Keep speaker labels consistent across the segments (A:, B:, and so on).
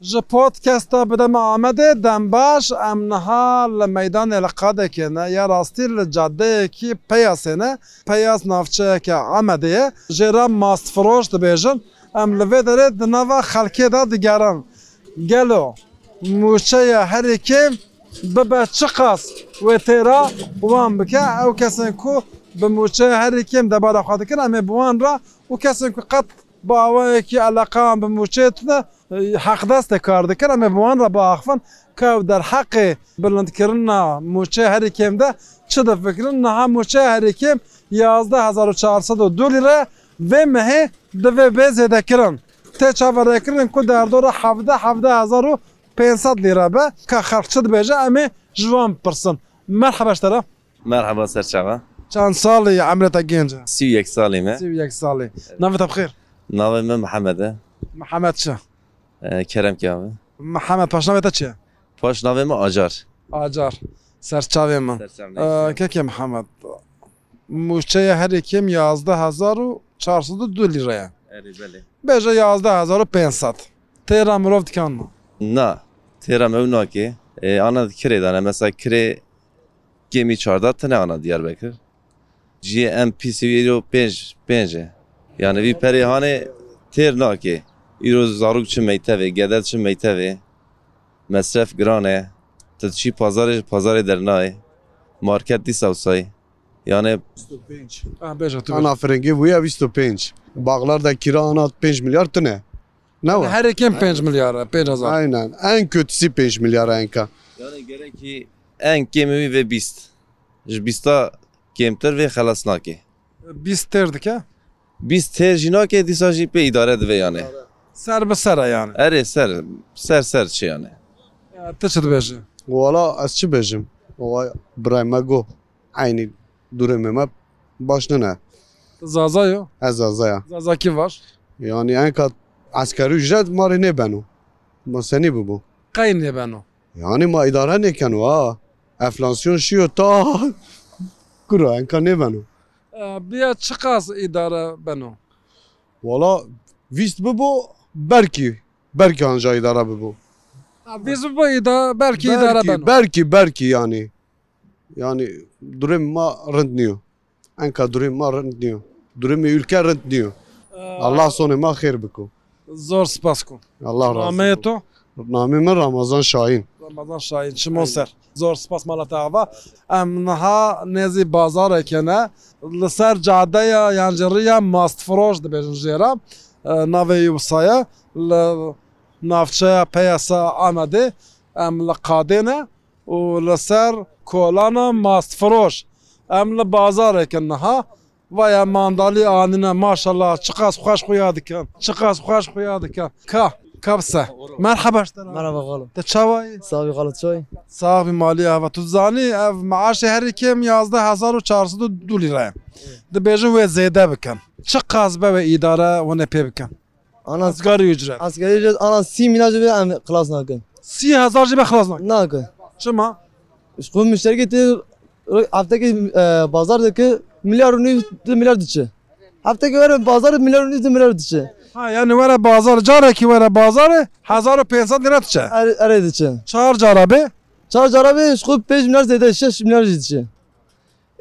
A: ji podkesta bide me Amedê dem baş em niha li meydanê li qadekene ya rastî li caddeyekî peyasê ne peyas navçeyeke Amedê ye jêra mastfiroş dibêjin em li vê derê di nava xelkê da digeran gelo mûçeya herêkê bibe çi qas wê têra wan bike ew kesên ku bi mûçe herêkêm debara xwe dikin em ê bi wan ra û kesên ku qet باوەیەکی ئەلەقام بموچێتە حەقدەستە کار دەکەن ئەمە بوان ڕە باخفن کە دەرحەقێ بلندکردنا موچە هەریکێمدا چ دەفکردن نەها موچە هەریکێم 11400 لیرە vê mehê divê bê zêdekirin tê çaverêkirin ku derdora hevde hevde hezar û 500 lîre be ka xerqçi dibêje em ê ji wan pirsin merhebeştera
B: مرحبا سەرچاوە
A: çand salî emreta gênce
B: سی یەک ساڵی me
A: yek salî navê te bixêr
B: ناڵێ من محەممەدە
A: Mehemed çi
B: کەرم کیاوە
A: Mehemed paşnavê te çi
B: پاش ناوێ me ئاجار
A: Acar serçavê min keke Mehemed Mûçeye herêkêm yazda hezar û çarsudu du lîreye Bêje yazda hezar pensat Têra mirov dikan mı?
B: نا تێرە me ew nakê ana kirêdan em mesela kirê gemî çarda tune ana Diyarbekir Jiyê em PCV pênj pênje yani vî perêhanê têr nakê îro zarok çi meytevê gedel çi meytevê mesref giran e te çî pazarê ji pazarê dernayê market dîsa wsayî yani
A: Bêje tu
C: Ana ferengî bûye 25. Bağlar da kira ana 5 milyar tune. Ne var?
A: Herêkêm 5 milyar pê hezar
C: Aynen. En kötüsü 5 milyar enka.
B: Yani gerek ki en kemimi ve bist. Ji bista kemtir ve xelas nake.
A: Bîst têr dike
B: Bist ter jî nake dîsa jî pê idare dibe yani.
A: Ser bi sere yani
B: Erê ser ser ser çi yani.
A: Te çi dibêje
C: Valla ez çi bejim. Ova brayma go. Aynı durumime başlığına.
A: Zaza yo
C: Ez azaya.
A: Zazakî var
C: Yani enka askeri ücret mari ne ben o. Ma seni bu bu.
A: Qeyên ye ben o
C: Yani ma idare ne ken o ha. Enflasyon şiyo ta. Kura enka ne ben o.
A: Biya çi qas îdare ben o
C: Valla vist bu bu. Berki. Berki anca idare bu bu.
A: Biz bu idare belki idare ben o
C: belki belki yani yani durumma rentniyor. Enka durumma rentniyor. Durumu ülke rentniyor. Allah sonuma hayır biku.
A: Zor spaskun
C: Allah razı
A: Rahmet
C: olsun.
A: to
C: Namime Ramazan Şahin.
A: Ramazan Şahin Şimoser Zor spas malata hava Em niha nêzî bazarekene Li ser cadeya yanciriya mastfiroş dibêjin jêra Navê E, Yusaya li navçeya peyasa Amedê Em li qadêne û li ser kolana mastfiroş Em li bazarekin niha Vaya mandalî anîne maşallah çiqas xweş xuya dikin Çiqas xweş xuya dikin Ka Kapse Merhaba
D: مرحبا غلط
A: Te çavayî
D: صافي غلط شوي
A: Sağ bir maliye hava tu zanî ev maaşê herêkêm yazda hezar û çarsu du lîre dibêjin wê zêde bikin çi qas be ve îdare hûn ê pê bikin
D: انا
A: Asgarî ücret
D: عسكري جد انا سي ميلاد جد انا خلاص ناكن
A: Sî hezar jî be xlas nakin
D: ناكن
A: Çima
D: شكون مشتركه تي هفتاكي
A: e,
D: بازار دك مليار ونص مليار دتشي هفتاكي ورا بازار مليار ونص مليار دتشي
A: Ha yani were bazar carekî were bazarê hezar û pêsad lîre Er, diçe
D: اري دتشي
A: Çar cara bê
D: چار جرابي شكون 5 مليار زيد 6 مليار دتشي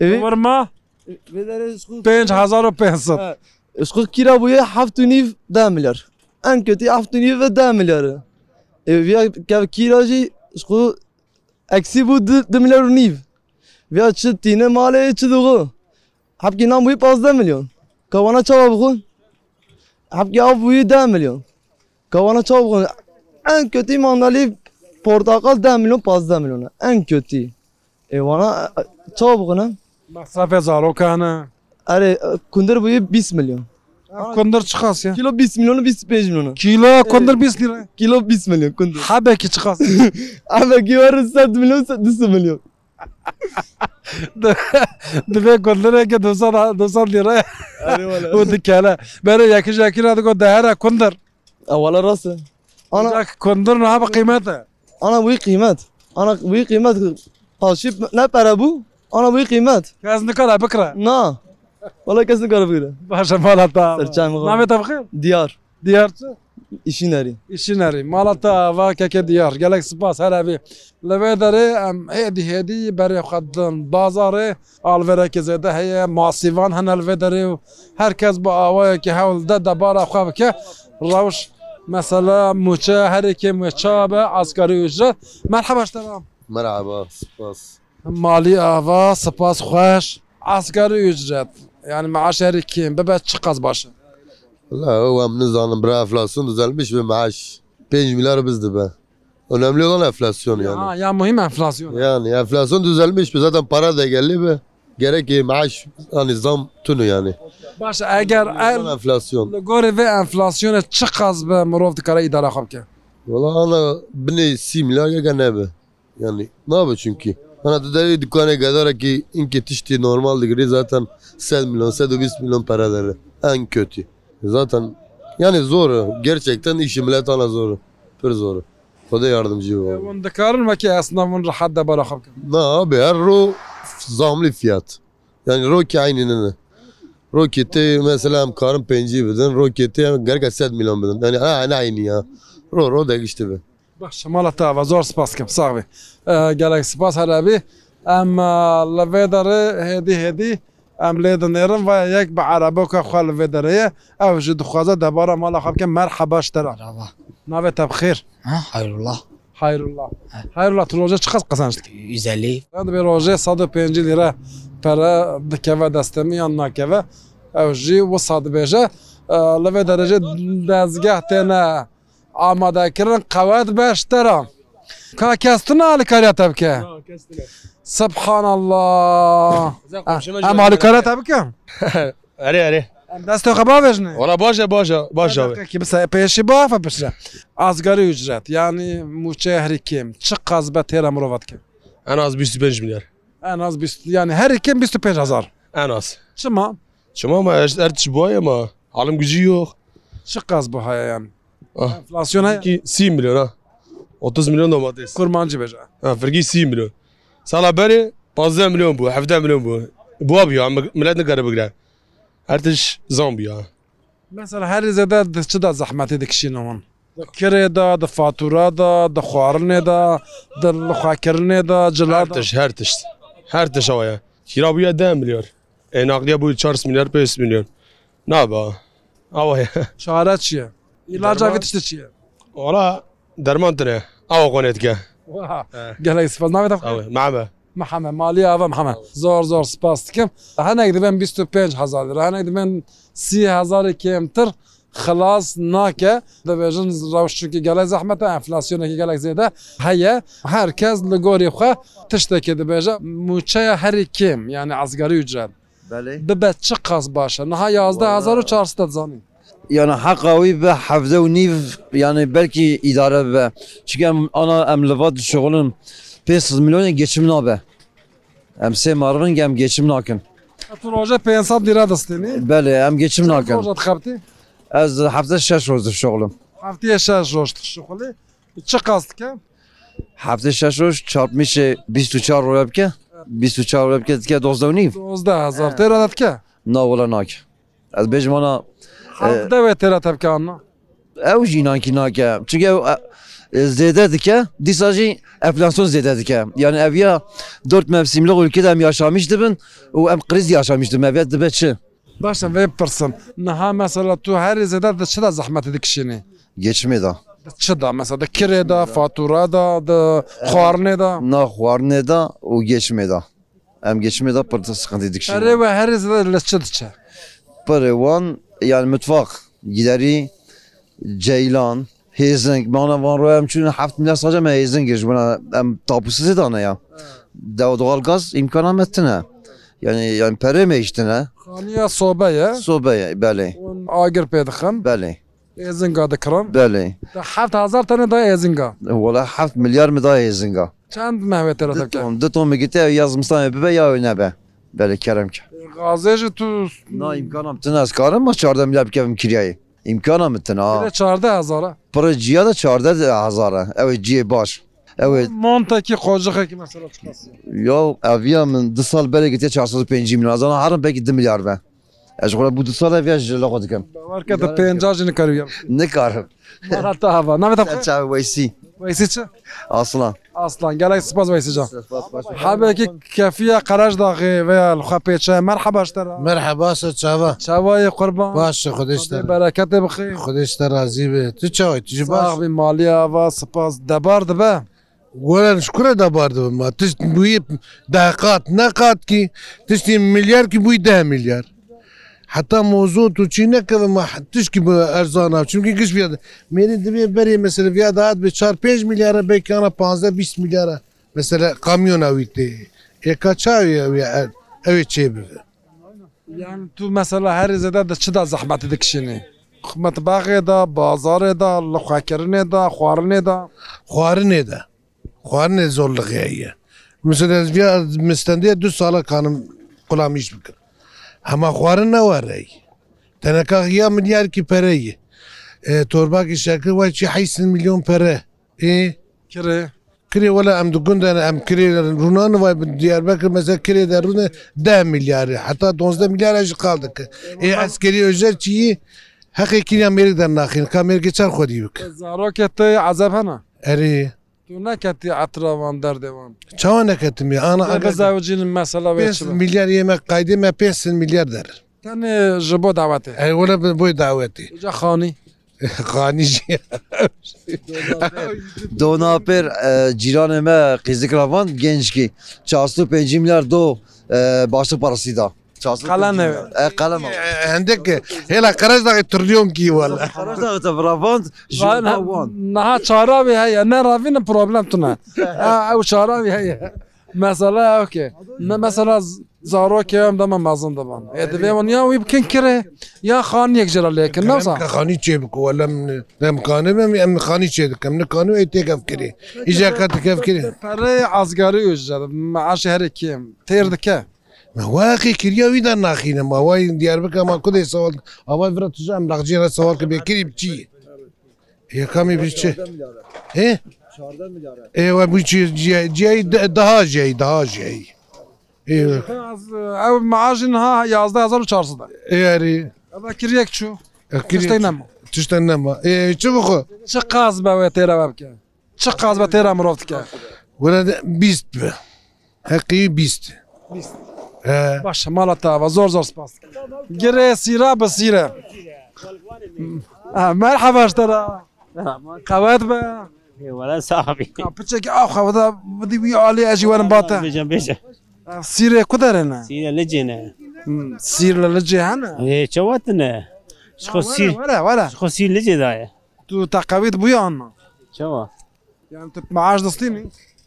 D: اي
A: wirma
D: بدر شكون
A: pênc hezar û pêsad
D: شكون كيرا بويا 7.5 10 مليار ان كوتي 7.5 10 مليار اي فيا كاف كيراجي شكون اكسي بو 2 مليار ونيف فيا تشتينا مالي تشدغو حبكي نام بوي 15 مليون كوانا تشاوا بغو حبكي او بوي 10 مليون كوانا تشاوا بغو ان كوتي ماندالي portakal 10 milyon 15 milyon en kötü. E bana çabuk ne?
A: Mesrafê zarokane
D: Are kundur bu 20 milyon.
A: kundir çiqas ya
D: Kilo 20 milyonu 25 milyonu.
A: Kîlo kundir bîs lîre
D: Kilo 20 milyon kundur.
A: Hebekî çiqas
D: Ama güvarı 4 milyon 4 milyon.
A: Divê kundireke 200 lîre û dikele Berê yekî jekî ra digot dehere kundir
D: Avala rası. Ana
A: Ana kundir niha bi qîmete
D: ana bu kıymet. Ana bu kıymet. Taşıp ne para bu? Ana bu kıymet.
A: Ez nikara bikre
D: Na. Valla kesin karabıyla.
A: Başa mala ta
D: Serçem
A: Navê te bixêr
D: Diyar.
A: Diyar
D: işi nereye?
A: İşineri, Malata ve keke diyar, gelek spas her evi. Levedere em hedi hedi beri kadın bazarı alvereke zede heye masivan hen elvedere herkes bu avaya ki hevlde de bara xavke ravuş mesela muçe her iki muçe be asgari ücret. Merhaba tamam.
E: مرحبا سباس
A: Mali ava spas xoş asgari ücret. Yani maaş her iki bebe çıkaz başı.
E: والله هو منظم برا انفلاسيون düzelmiş ve maaş 5 milyar bizdi be. Önemli olan enflasyon yani.
A: Ha, ya mühim enflasyon.
E: Yani enflasyon düzelmiş be zaten para da geldi be. Gerek ki maaş hani zam tünü yani.
A: Baş eğer el
E: Olan enflasyon.
A: Li gorê vê enflasyonê çi qas bi mirov dikare îdara xwe bike
E: Valla ana bine 3 milyar ya gene be. Yani ne yapıyor çünkü? Ana düderi dükkana kadar ki inki tişti normal digri zaten 7 milyon 720 milyon paraları. En kötü. Zaten yani zor. Gerçekten işi millet ana zor. Pır zor. O da yardımcı var.
A: Hûn dikarin vekî esnafın rihat de bara xwe bikin
E: Ne abi her ro zamlı fiyat. Yani roki aynı ne. Roketi mesela hem karın penci beden, roketi hem gerçekten 7 milyon beden. Yani aynı aynı ya. Ro ro da işte be.
A: Baş mala te ve zor spas kim sağ vê gelek spas her evî em e, li vê derê hêdî hêdî em lê dinêrin ve yek bi ereboka xwe li vê derê ye ew ji dixwaze debara mala xwe bikin merheba ji te re
F: Merhaba.
A: navê te bixêr
F: Ha, hayrullah.
A: Hayrullah. Hayrullah tu roja çi qas qazançdikî
F: 150.
A: Rend bi rojê 105 lîre pere dikeve destemî yan nakeve ew jî wisa dibêje li vê derece dezgeh têne amadekirin qewet beşteran Ka kestin alikariya te bike Sebhan Allah Em alikariya te bikim
G: Allez, allez.
A: Em dest xebavêjinê
G: Voilà, boja, boja, boja. be.
A: Ki bise pêşî bafe pişe Azgarî ücret yanî mûçe herîkim çi qaz be têre mirovat kim
G: En az 125 milyar.
A: En az bîst- yani her kim 25 hazar
G: En az.
A: Çima
G: Çama ama ertesi bu ay ama alım gücü yok.
A: Çi qaz bu heye yani
G: Ah.
A: Enflasyon heye
G: Ki 3 milyon ha. 30 milyon domates.
A: Kurmancı beje.
G: Ha, فرقي 3 milyon. Sala beri 15 milyon bu, 17 milyon bu. Bu abi ya, millet ne kadar bırak. Ertesi zam bu ya.
A: Mesela her zede de çi da zahmeti dikişin onun. Kirê da, di fatura da, di xwarinê da, di lixwekirinê da, cila da.
G: Ertesi, ertesi. Ertesi hava ya. Kira bu ya 10 milyon. E nakliye bu 4 milyar, 5 milyon. Ne yapı ha? Hava ya.
A: Çare çi ye? İlaca
G: Derman.
A: vitişti çi ye?
G: Valla derman tane. Hava konetke. He.
A: Gelek spas navet
G: Hava, mağbe.
A: Mehame, maliye ava mehame. Zor zor spas dikim. Henek dibin 25 hazar lira, henek dibin 30 hazar kemtir. خلاص ناکه دبیژن روشکی گله زحمت انفلاسیونه که گله زیده هیه هرکس لگوری خو تشتکی دبیژه موچه هری کم یعنی ازگاری اجرت
H: بله
A: ببه چه قاس باشه نه 11400 زانی
H: یعنی حق اوی به حفظه و نیف یعنی بلکی اداره به چون ام آنا ام لواد شغلم 500 میلیون geçim نابه ام سه مارون گم geçim ناکن
A: تو روژه 500 لیره دستینی
H: بله ام geçim ناکن
A: روژه خبتی
H: از هفته شش روز شغلم
A: هفته 6 روژ شغلی چه قاس که
H: هفته شش روز چاپ میشه 24 روز که 24 روز که دیگه 12 و نیف
A: 12000 تیره دت که
H: نه ولا ناک از بجمانا
A: هفته و تیره تب که آنها
H: او جینان کی ناکه چونکه او، اه، زیده دکه دیسا جی افلاسیون زیده دکه یعنی اویا دورت مفسیملی ولکه ام یاشامیش دبن و ام قریز یاشامیش دبن اویا دبه چه
A: باشه وی پرسم نه مثلا تو هر زده د چه د زحمت دکشینی
H: geçme da
A: چه دا مثلا د کرې دا فاتوره دا د خوارنه دا
H: na xwarne da u geçme da ام geçme da pırtı sıkıntı dikşi
A: هر و هر زده له چه د چه
H: پرwan yani mutfak gideri ceylan Hezing bana van royam çünkü haft milyon sadece me Hezing geç bana em tapusu zidane ya. Da doğal gaz imkan ettin Yani yani pere mi içtin ha?
A: خانیه صوبه یه
H: Sobe bale
A: اون آگر پیدا خم
H: bale
A: ایزنگا دکرم
H: bale.
A: ده هفت هزار تنه دا ایزنگا
H: Valla haft milyar mı daha Hezinga?
A: چند مهوه تیره تب که
H: Tamam da tomu gitti yazmıştan öpübe ya öne be. Bale kerem ki.
A: غازه جی تو
H: Na imkan ettin az karım mı çarda milyar bir kevim kiryayı? İmkan ettin ha.
A: تیره چارده هزاره
H: Para ciya da çarda hazara. Evet ciye baş. Evet
A: منتکی قوجخه که مثلا چه قصیه
H: Ya evya min disal bere gitti 450 milyon. Azana harım belki 2 milyar ben. اش غره بود ساله ویاش لغو دکم
A: باورکە دە پێنجژی نکەویم
H: نکارم
A: تا هەوا نامێت
H: چا ویسی
A: ویسی چ
H: اصلا
A: ئاسلان گەلای سپاس ویسیجان حبێکی کەفیە قەرش داغێ وێخوا پێچە مەر حەباشتە
F: مرحبا باسە چاوە
A: چاوای قوربان
F: باشە خودشتە
A: بەرەکەتێ بخی
F: خودشتە رازی بێ تو چاوی تژ باش
A: باغبی مالیەوە سپاس دەبار دەبە
F: وەرە شکرە دەباردەوە ما تشت بووی داقات نەقات کی تشتی میلیارکی بووی ده میلیار حتا موزۆ تو چی نەکەەوە ما تشکی بە ئەرزانە چونکی گشت بێت مێنی دەبێ بەرێ مەسلڤیا داات بە 4 5 میلیارە بێکانە 15 20 میلیارە مەسەر قامیۆناوی تێ ێکا چاوی ئەوێ ئەوێ چێ بێت
A: یان تو مەسەلا هەری زەدا دە چدا زەحمەتی دکشێنێ خمت باغێدا بازارێدا لە خواکردنێدا خواردنێدا
F: خوارنێدا خوارنێ زۆر لەغیاییە مسلیا مستندەیە دو ساڵە کانم قڵامیش بکرد هەما خوارن نەوەڕێی تەنەکە غیا ملیارکی پەرەیە تۆرباکی شاکر وای چی حیس میلیۆن پەرە ئێ
A: کرێ
F: کرێ وەلا ئەم دوگوندان ئەم کرێ ڕوونان وای دیاربەکە مەزە کرێ دەڕونە ده میلیارە حتا 12 میلیارەژ قال دەکە ئێ ئەسکەری ژەر چی حەقێکیان مێری دەرناخین کامێرگە چەر خۆدی بکە
A: زارۆکێتە عزەب هەنا
F: ئەرێ
A: تو نەکەتی عتراوان دەردێوان
F: چاوان نەکەتمی ئانا
A: ئەگەزاوجین مەسەلا
F: پێ میلیار ئێمە قایدێمە پێ میلیار دەر
A: تەنێ ji بۆ داواتێ
F: ئەوەە بۆی داوەتی
A: جا خانی
F: خانیژ
H: دونا پر جیران ما قیزکراوان گنجکی 45 میلیار دو باشه پاراسیدا
A: قەلەم نەوێ.
H: قەلەم
F: E, هەندێک هێلا قەرز داقی تریۆم کیوەلا
H: ڕاوند ژوان
A: نها çaravê heye ne ravî ne problem tune ew çaravî heye mesela okê ne mesela zarokê em de me mezin diban ê divê wan ya wî bikin kirê ya xaniyek ji lêkin newsa
F: خانی چێ بکووە لەم ئەمکانە ئەم خانی چێ دەکەم نکان و تێکەف کرێ ئیجاکە تکەف کرێ
A: Perê azgarî ji meaşê herekê têr dike
F: واقعی کریاوی در ناخینە ماوای دیار بکە ما کودی سوال ئەوای برە توژام لاغجیێرە سوال کە بێکری بچی یەکامی بچێ ئێوە بچیایی داژایی داژایی
A: ew meaşin ha yazda hezar çarda
F: ئێری
A: kiriyek çû kirî nem
F: تشتە نەما ئێ چ بخۆ
A: çi qaz be wê têre ve bike çi qaz be têra mirov dike
F: وەرە بیست بە هەقی بیست
A: باش ماڵە تاوە زۆر زۆر سپاس گرێ سیرا بە سیرە مەر حەباشتەرە قەوەت بە
I: ولا صاحبي
A: پچێکی ئاخەوەدا بدی وی عالی ئەژی وەرم باتە
I: بيجن بيجن
A: سیرێ کو دەرێنە
I: سينا لجينا
A: سیر لە لە جێهانە
I: ايه شواتنا شخو سير
A: وەرە وەرە
I: شخو سير لجي دايا
A: تو تاقاویت بویانمە
I: شوا
A: یان معاش دەستینی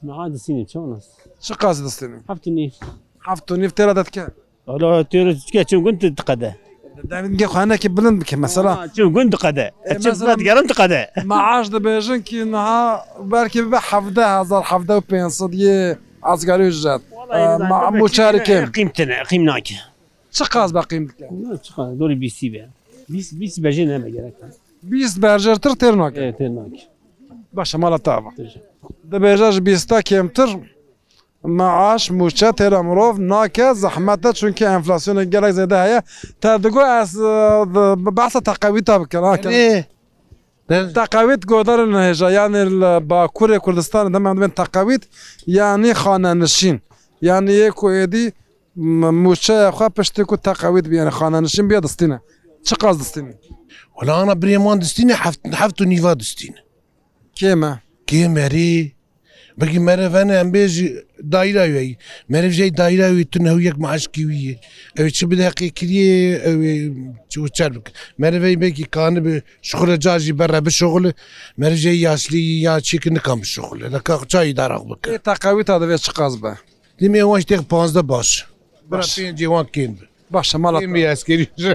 I: ما عاد سينا شو نص
A: چ قازی دەستێنی
I: حفتني
A: هەفت و نیف تێرە دەتکە
I: والله تيرو تسكا شو كنت تقدا
A: داگە خوانەکی بلند بکە مەسەلا
I: شو كنت تقدا
A: مثلاً-
I: تشبات قرمت قدا
A: معاش دەبێژن کینها بەرکی بە هەهزار هە پێ یه ئازگاری ژات موچارێکم
I: قيمتنا قيمناك
A: چ قاز بەقیم بکە
I: دوري بي سي بي بيس بيس بجينا ما قالك
A: 20 بەرژێرتر تێرناکە
I: ايه تناك
A: باشە ماڵە تاوە دەبێژەش بیستا کێمتر معاش موچە تێرە مرۆڤ ناکە زەحمەتە چونکە ئەفلاسیۆنە گەلێک زێدا هەیە تا دەگو باسە تاقاوی تا بکە ناکە تاقاویت گۆدارن هێژە یانێ لە باکوورێ کوردستان دەمان بێن تاقاویت یانی خانەنشین یانی یە کۆێدی موچەخوا پشتێک و تاقاویت بێنە خانەنشین بێ دەستینە چ قاز دەستینی
F: وەلانا برێمان دستینە هەفت و نیوا دستینە
A: کێمە
F: کێمەری بگی مەرەڤەنە ئەم بێژی دایراوی مەرەژەی دایراوی تونەو یەک معشکی ویە ئەو چ بدەقی کریە ئەوێ چەر بک مەرەڤەی بێکی کانە بە شخورە جاژی بەرە بشغل مەرژەی یاسلی یا چێکە نکەم شغل لە کاچوی داراق بکە
A: تاقاوی تا دەوێت چ قاز بە
F: دیێ وان شتێک پازدە باش جیوان کێن
A: باشە ماڵە
F: ئەسکەری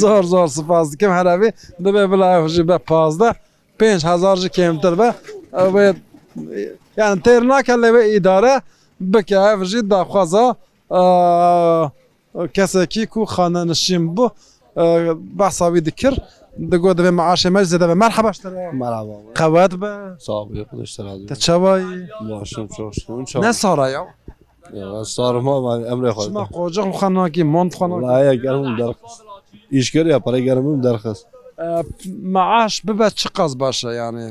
A: زۆر زۆر سپاس دکەم هەراوی دەبێ بلاژی بە پازدە 5هزار ji کێمتر بە ئەوێ یان تێر ناکە لەوێ ئیدارە بکەژی داخوازە کەسێکی و خانە نشیم بوو باساوی دکرد دەگۆ دەبێ معاشێ مەج زدەبێ مەر حەباشتە قەوەت بە
E: Sağ ol. Yapılışlar aldım.
A: دەچەوای
E: Ulaşım çalıştım.
A: نە ساڕایە
J: صارما مع امر
A: شما
J: خالد
A: قوجه خو خناکی مونت خناکی
J: والله هي قرم درخص يشكر يا بري قرم درخص
A: معاش ببه چه قز باشه یعنی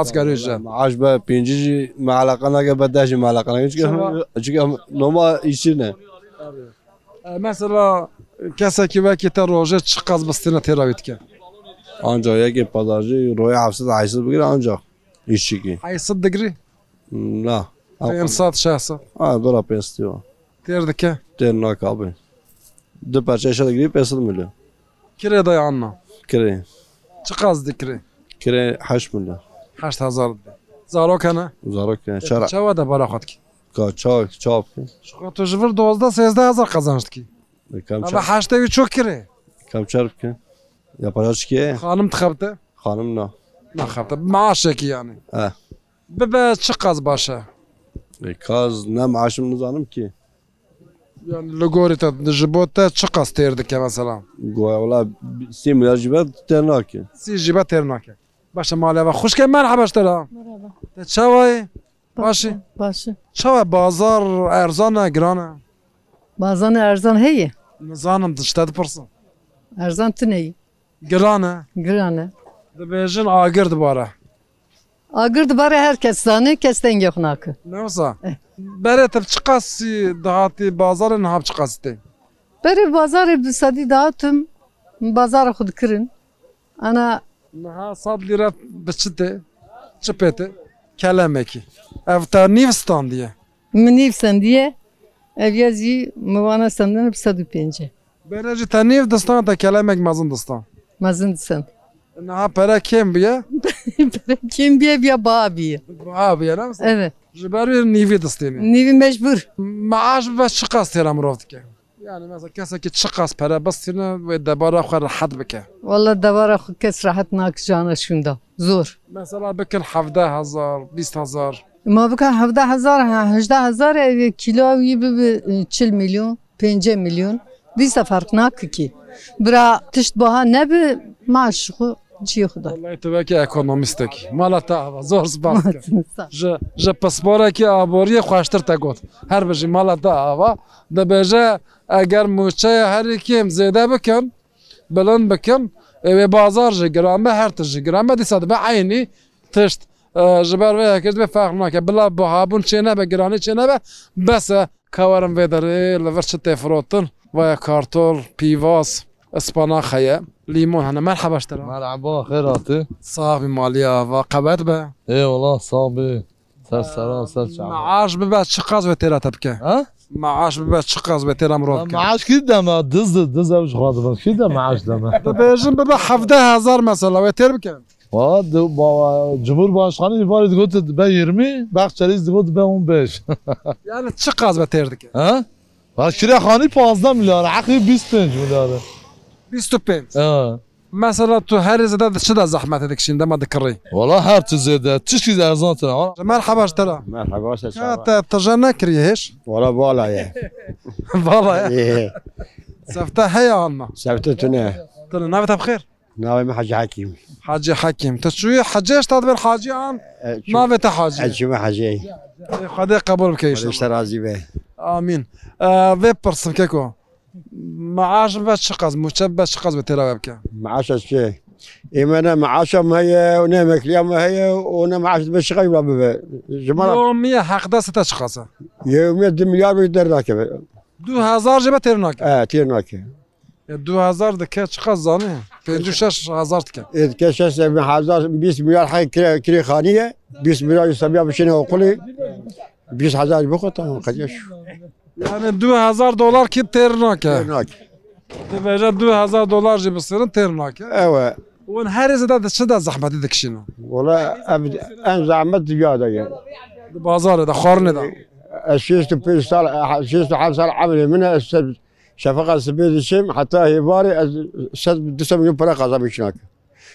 A: از گریجه
J: معاش بقى بينجي معلقه انا بداش معلقه انا
A: شما-
J: يشكر نوما يشينا
A: Э, مثلا کسی که وکی تا روژه چه قز بستینه تیراوید که
J: انجا يجي بازارجي روي عفسد عايز بقرا انجا يشكي
A: ای صد دگری
J: لا
A: این سات شه سات
J: اه برا بيستيو
A: تیر دکه
J: تیر ناک abi. Dü parça aşağıda girip yasıl milyon.
A: کره دای آنها
J: Kire.
A: چه قز دکری
J: Kire haş milyon.
A: هشت هزار دی زارو کنه
J: Uzarak yani. Şara.
A: چه وده برا خود کی
J: Çak, çap.
A: شو تو جبر دوازده سیزده هزار قزانشت کی
J: Kam
A: اما
J: çarp.
A: هشت اوی چو کره
J: Kam çarp ki. Yapacak ki.
A: خانم تخبته
J: Hanım na.
A: نخبته معاشه کی یعنی
J: اه.
A: ببه چه قز باشه
J: E, kaz ne maaşımız hanım ki.
A: یعنی لگوری تا جبوت تا چه قز تیر دکه مثلا
J: Goya ola si milyon cibet tیر nak ki.
A: سی جیبه تیر نکه باشه مالی و خوشکه مرحبا شترا
K: مرحبا
A: چه وای باشی
K: باشه
A: چه بازار ارزانه گرانه
K: بازان ارزان هەیە
A: نزانم دشته پرسم
K: ارزان تنەی
A: گرانه
K: گرانە
A: دبیجن آگر دوباره
K: ئاگر دبارە هەر کەسانەی کەس دەنگێ خناکە
A: نوسا بره تب چه قصی دهاتی بازار نهاب چه قصی تی
K: بەرێ بازارێ بسەدی داهاتم بازارە خودکردن ئەنا
A: نها صد لیره بچه تی چه پیتی کلمه کی افتا نیوستان دیه
K: منیف سندیە ئەڤازی موانە سندن بسە و پێنج
A: بره جی تا نیو دستان تا کلمه کی مزن دستان
K: مەزن سند
A: نها پره کم بیه
K: کیم بێ بیا بابیە
A: بها بیه نوسا
K: ئەە
A: جبری نیوی دستینی
K: نیوی مەجبور
A: معاش بس چه قص تیره مروفت که یعنی مثلا کسی که چه قص پره بستینه و دباره خواه راحت بکه
K: والله دەوارە خو کەس راحت ناکجانە شوندا زۆر
A: مثلا بکن 17000 20000
K: ما بکە هەدا هزار هەدا هزار ئەوێ کیلۆوی ب چل میلیۆن پێ میلیۆن دیسە فەرقناکەکی برا تشت بەها نەب ماش خو چی خدا
A: والله تو بکی اکونومیستکی مالا تا هوا زور سپاس که ژ ژ پسپورا کی آبوری خوشتر تا گوت هر بجی مالا تا هوا دبجه اگر موچه هر کیم زیده بکن بلند بکن اوی بازار جی گرامه هر تجی گرامه دیسا دبه عینی تشت اه، جبر وی کرد به فرق نکه بلا با هابون چه نه به گرانی چه نه به بس کارم ویدره لور چه تفروتن و کارتول پیواز اسپانا خیه لیمون هنه مرحبا اشترا
L: مرحبا خيراتي
A: صافي مالية وقبات به
L: اي والله صابي سر سرا سر شعب
A: معاش ببعد شقاز بتيرا تبكى
L: ها؟
A: معاش ببعد شقاز بتيرا مروضك
L: معاش كده ما دز دز مش غاضب كده معاش ده ما
A: بيجن ببع حفده هزار مثلا وتير بكى
L: واد جمهور başkanı ifade قلت ben 20 Bahçeliyiz قلت ben 15
A: يعني شقاز بتير دك
L: ها؟ بس كده 15 مليار عقلي 25 مليار
A: 25
L: اه
A: مثلا تو هر زاد شدا زحمه هذاك الشيء ما ذكري
L: والله هر تزيد تشكي ده زانتنا
A: مرحبا اشترى
J: Merhaba seçer.
A: كات تجنا كريهش
J: Valla valla ya.
A: والله سفتا هيا عنا
J: Sevtetine.
A: تقول لنا بخير
J: Navim Hacı Hakim.
A: حاجي حكيم تشوي حاجيش تدبر حاجي عن ما بتا حاجي
J: Hacı Hacı.
A: خدي قبول بك ان شاء الله
J: Kardeşler Aziz Bey.
A: امين آه في برسم كيكو معاش باش شقز مشبش شقز بتلاوي بكا
J: معاش الشيء إما أنا معاشهم هي ونامك اليوم هي وأنا معاش مش غير بابا جمرة
A: يوميا حقدا ستة اشخاص
J: يوم يد مليار بيقدر راكب
A: دو هزار جبه تيرناك
J: اه تير راكب
A: دو هزار دكا شقز زاني بينجو شاش هزار دكا
J: إذا كشاش من حزاز 20 مليار حي كري, كري خانية 20 مليار يسميها بشينا وقولي 20 حزاز بخطة ما قديش
A: يعني دو هزار دولار كي تيرناك
J: راكب
A: تبجا دو هزار دولار جي بصيرن تيرناك
J: ايوا
A: وان هارز هذا شدا زحمة ديك شنو
J: والله أبد أنا زعمت زيادة يعني
A: بازار هذا خورني هذا
J: شيشت في صار شيشت حال صار عملي منها السبت شفقة سبيد الشم حتى هي باري السبت دسم يوم برا قصة بيشناك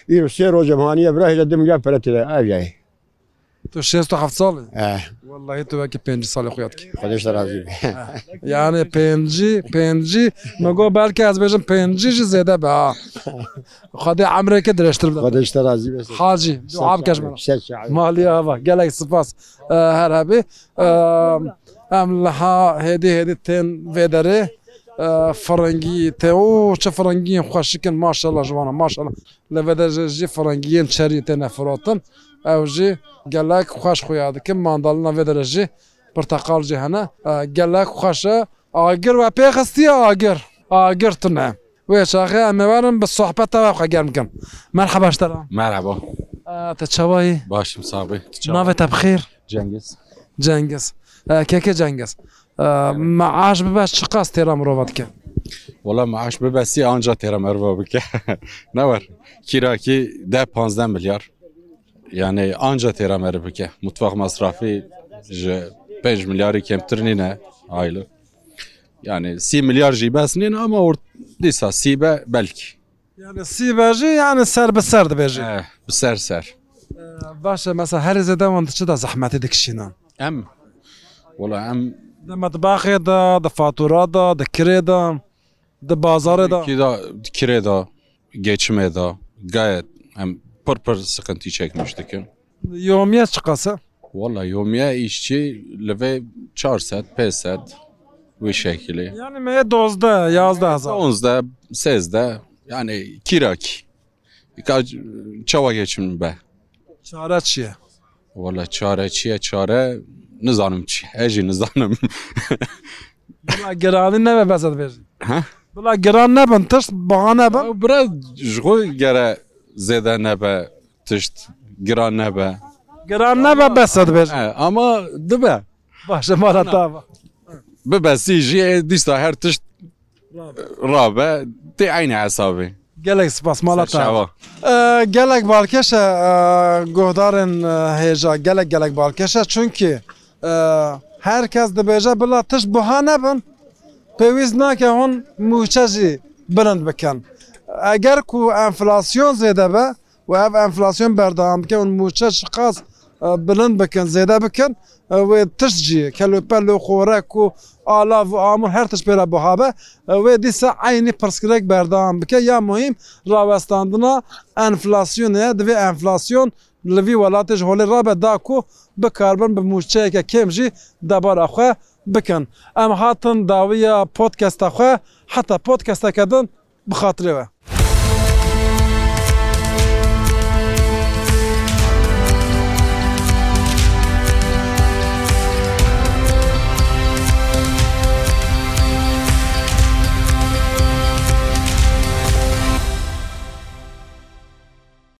J: يرو سيرو جمهانية برا هي دم جاب برا تلا أبيعي
A: تو شيست حفت صالي
J: آه
A: والله تو هيك بينجي صالي خوياتك
J: خديش رازي
A: یعنی پنجی پنجی مگو بلکه از بجم پنجی جی زیده به خدا عمره که درشتر بده
J: خديش رازي بس
A: حاجی دعا بکش مرا
J: شش شعب
A: مالی آوا گلک سپاس اه، هر هبی اه، ئەم لەها هێدی هێدی تێن وێدەرێ فڕەنگی تێ و چه فڕەنگیین خوۆشکن ماشەڵە ژوانە ماشەڵە لە بەدەژێژی فڕەنگیین چەری تێنە فرۆتن ئەو ژی گەلک خوۆش خۆیا دکن ماداڵنا وێدەرەژی پرتەقالجی هەنە گەلک خوۆشە ئاگر و پێخستی ئاگر ئاگرتنە وێ شاخێ ئەمەوارم بە سوحبەتەوە خەگەرمکەم مەرحە باشتەرە
M: مرحبا
A: تەچەوایی
M: باشم صابر
A: ناوێتە بخێر
M: جنگز
A: جەنگس کێکە جەنگس مەعاش ببە چ قاس تێرا مرۆڤەت کرد
M: والله معاش ببەسی آنجا تێرە مەرۆ بکە نەوەەر کیراکی ده 15 ملیار یعنی آنجا تێرە مەرە بکە متفاق مەصرافی ji 5 میلیاری کەمتر نینە ئایلە یعنی سی میلیار جی بەس نین ئەمە دیسا سیبە بەلکی
A: سی بەژی یانە سەر بەسەر دەبێژێ
M: Eh, بسەر سەر
A: باشە مەسە هەرزە داوان چدا زەحمەتی دەکشینان
M: ئەم وڵە ئەم
A: د مطباخێدا د فاتورادا د کرێدا د بازارێدا
M: kirêda geçimê da gayet em pır pır sıkıntı çekmiş dikin.
A: یۆمیە چ قاسە
M: Valla yomiye işçi li vê 400 500 wî şekilê.
A: Yani me dozda yazda hazar.
M: 11 sezde yani kirak. Birkaç çava geçim be.
A: Çare çiye.
M: Valla çare çiye çare nizanim çi. Ejî nizanim.
A: Bila giranî nebe bezed bêjî.
M: Ha?
A: Bila giran nebin tişt baha nebin.
M: Biraz Ji xwe gere zêde nebe tişt giran nebe.
A: Giran nebe besed bêjî.
M: Ama dibe.
A: Başa mala tava.
M: Bibesî jî e, dîsta her tişt rabe tê aynı hesabê.
A: Gelek spas mala
M: Serşeva.
A: tava. gelek balkeşe e, gohdarên hêja gelek gelek balkeşe çünkü e, herkes dibêje bila tişt buha nebin pêwîst nake hûn mûçe jî bilind bikin. Eger ku enflasyon zêde be ve ev enflasyon berdewam bike hûn mûçe ji qas bilind bikin zêde bikin wê tişt jî kelopello xorek û alav û amûr her tişt pêre bihabe wê e, dîsa aynî pirskirek berdewam bike ya muhim rawestandina enflasyonê divê enflasyon li vî welatê ji holê rabe da ku bikarbin bi mûçeyeke kêm jî debara xwe bikin. Em hatin dawiya podkesta xwe heta podkestekedin bixatirê we.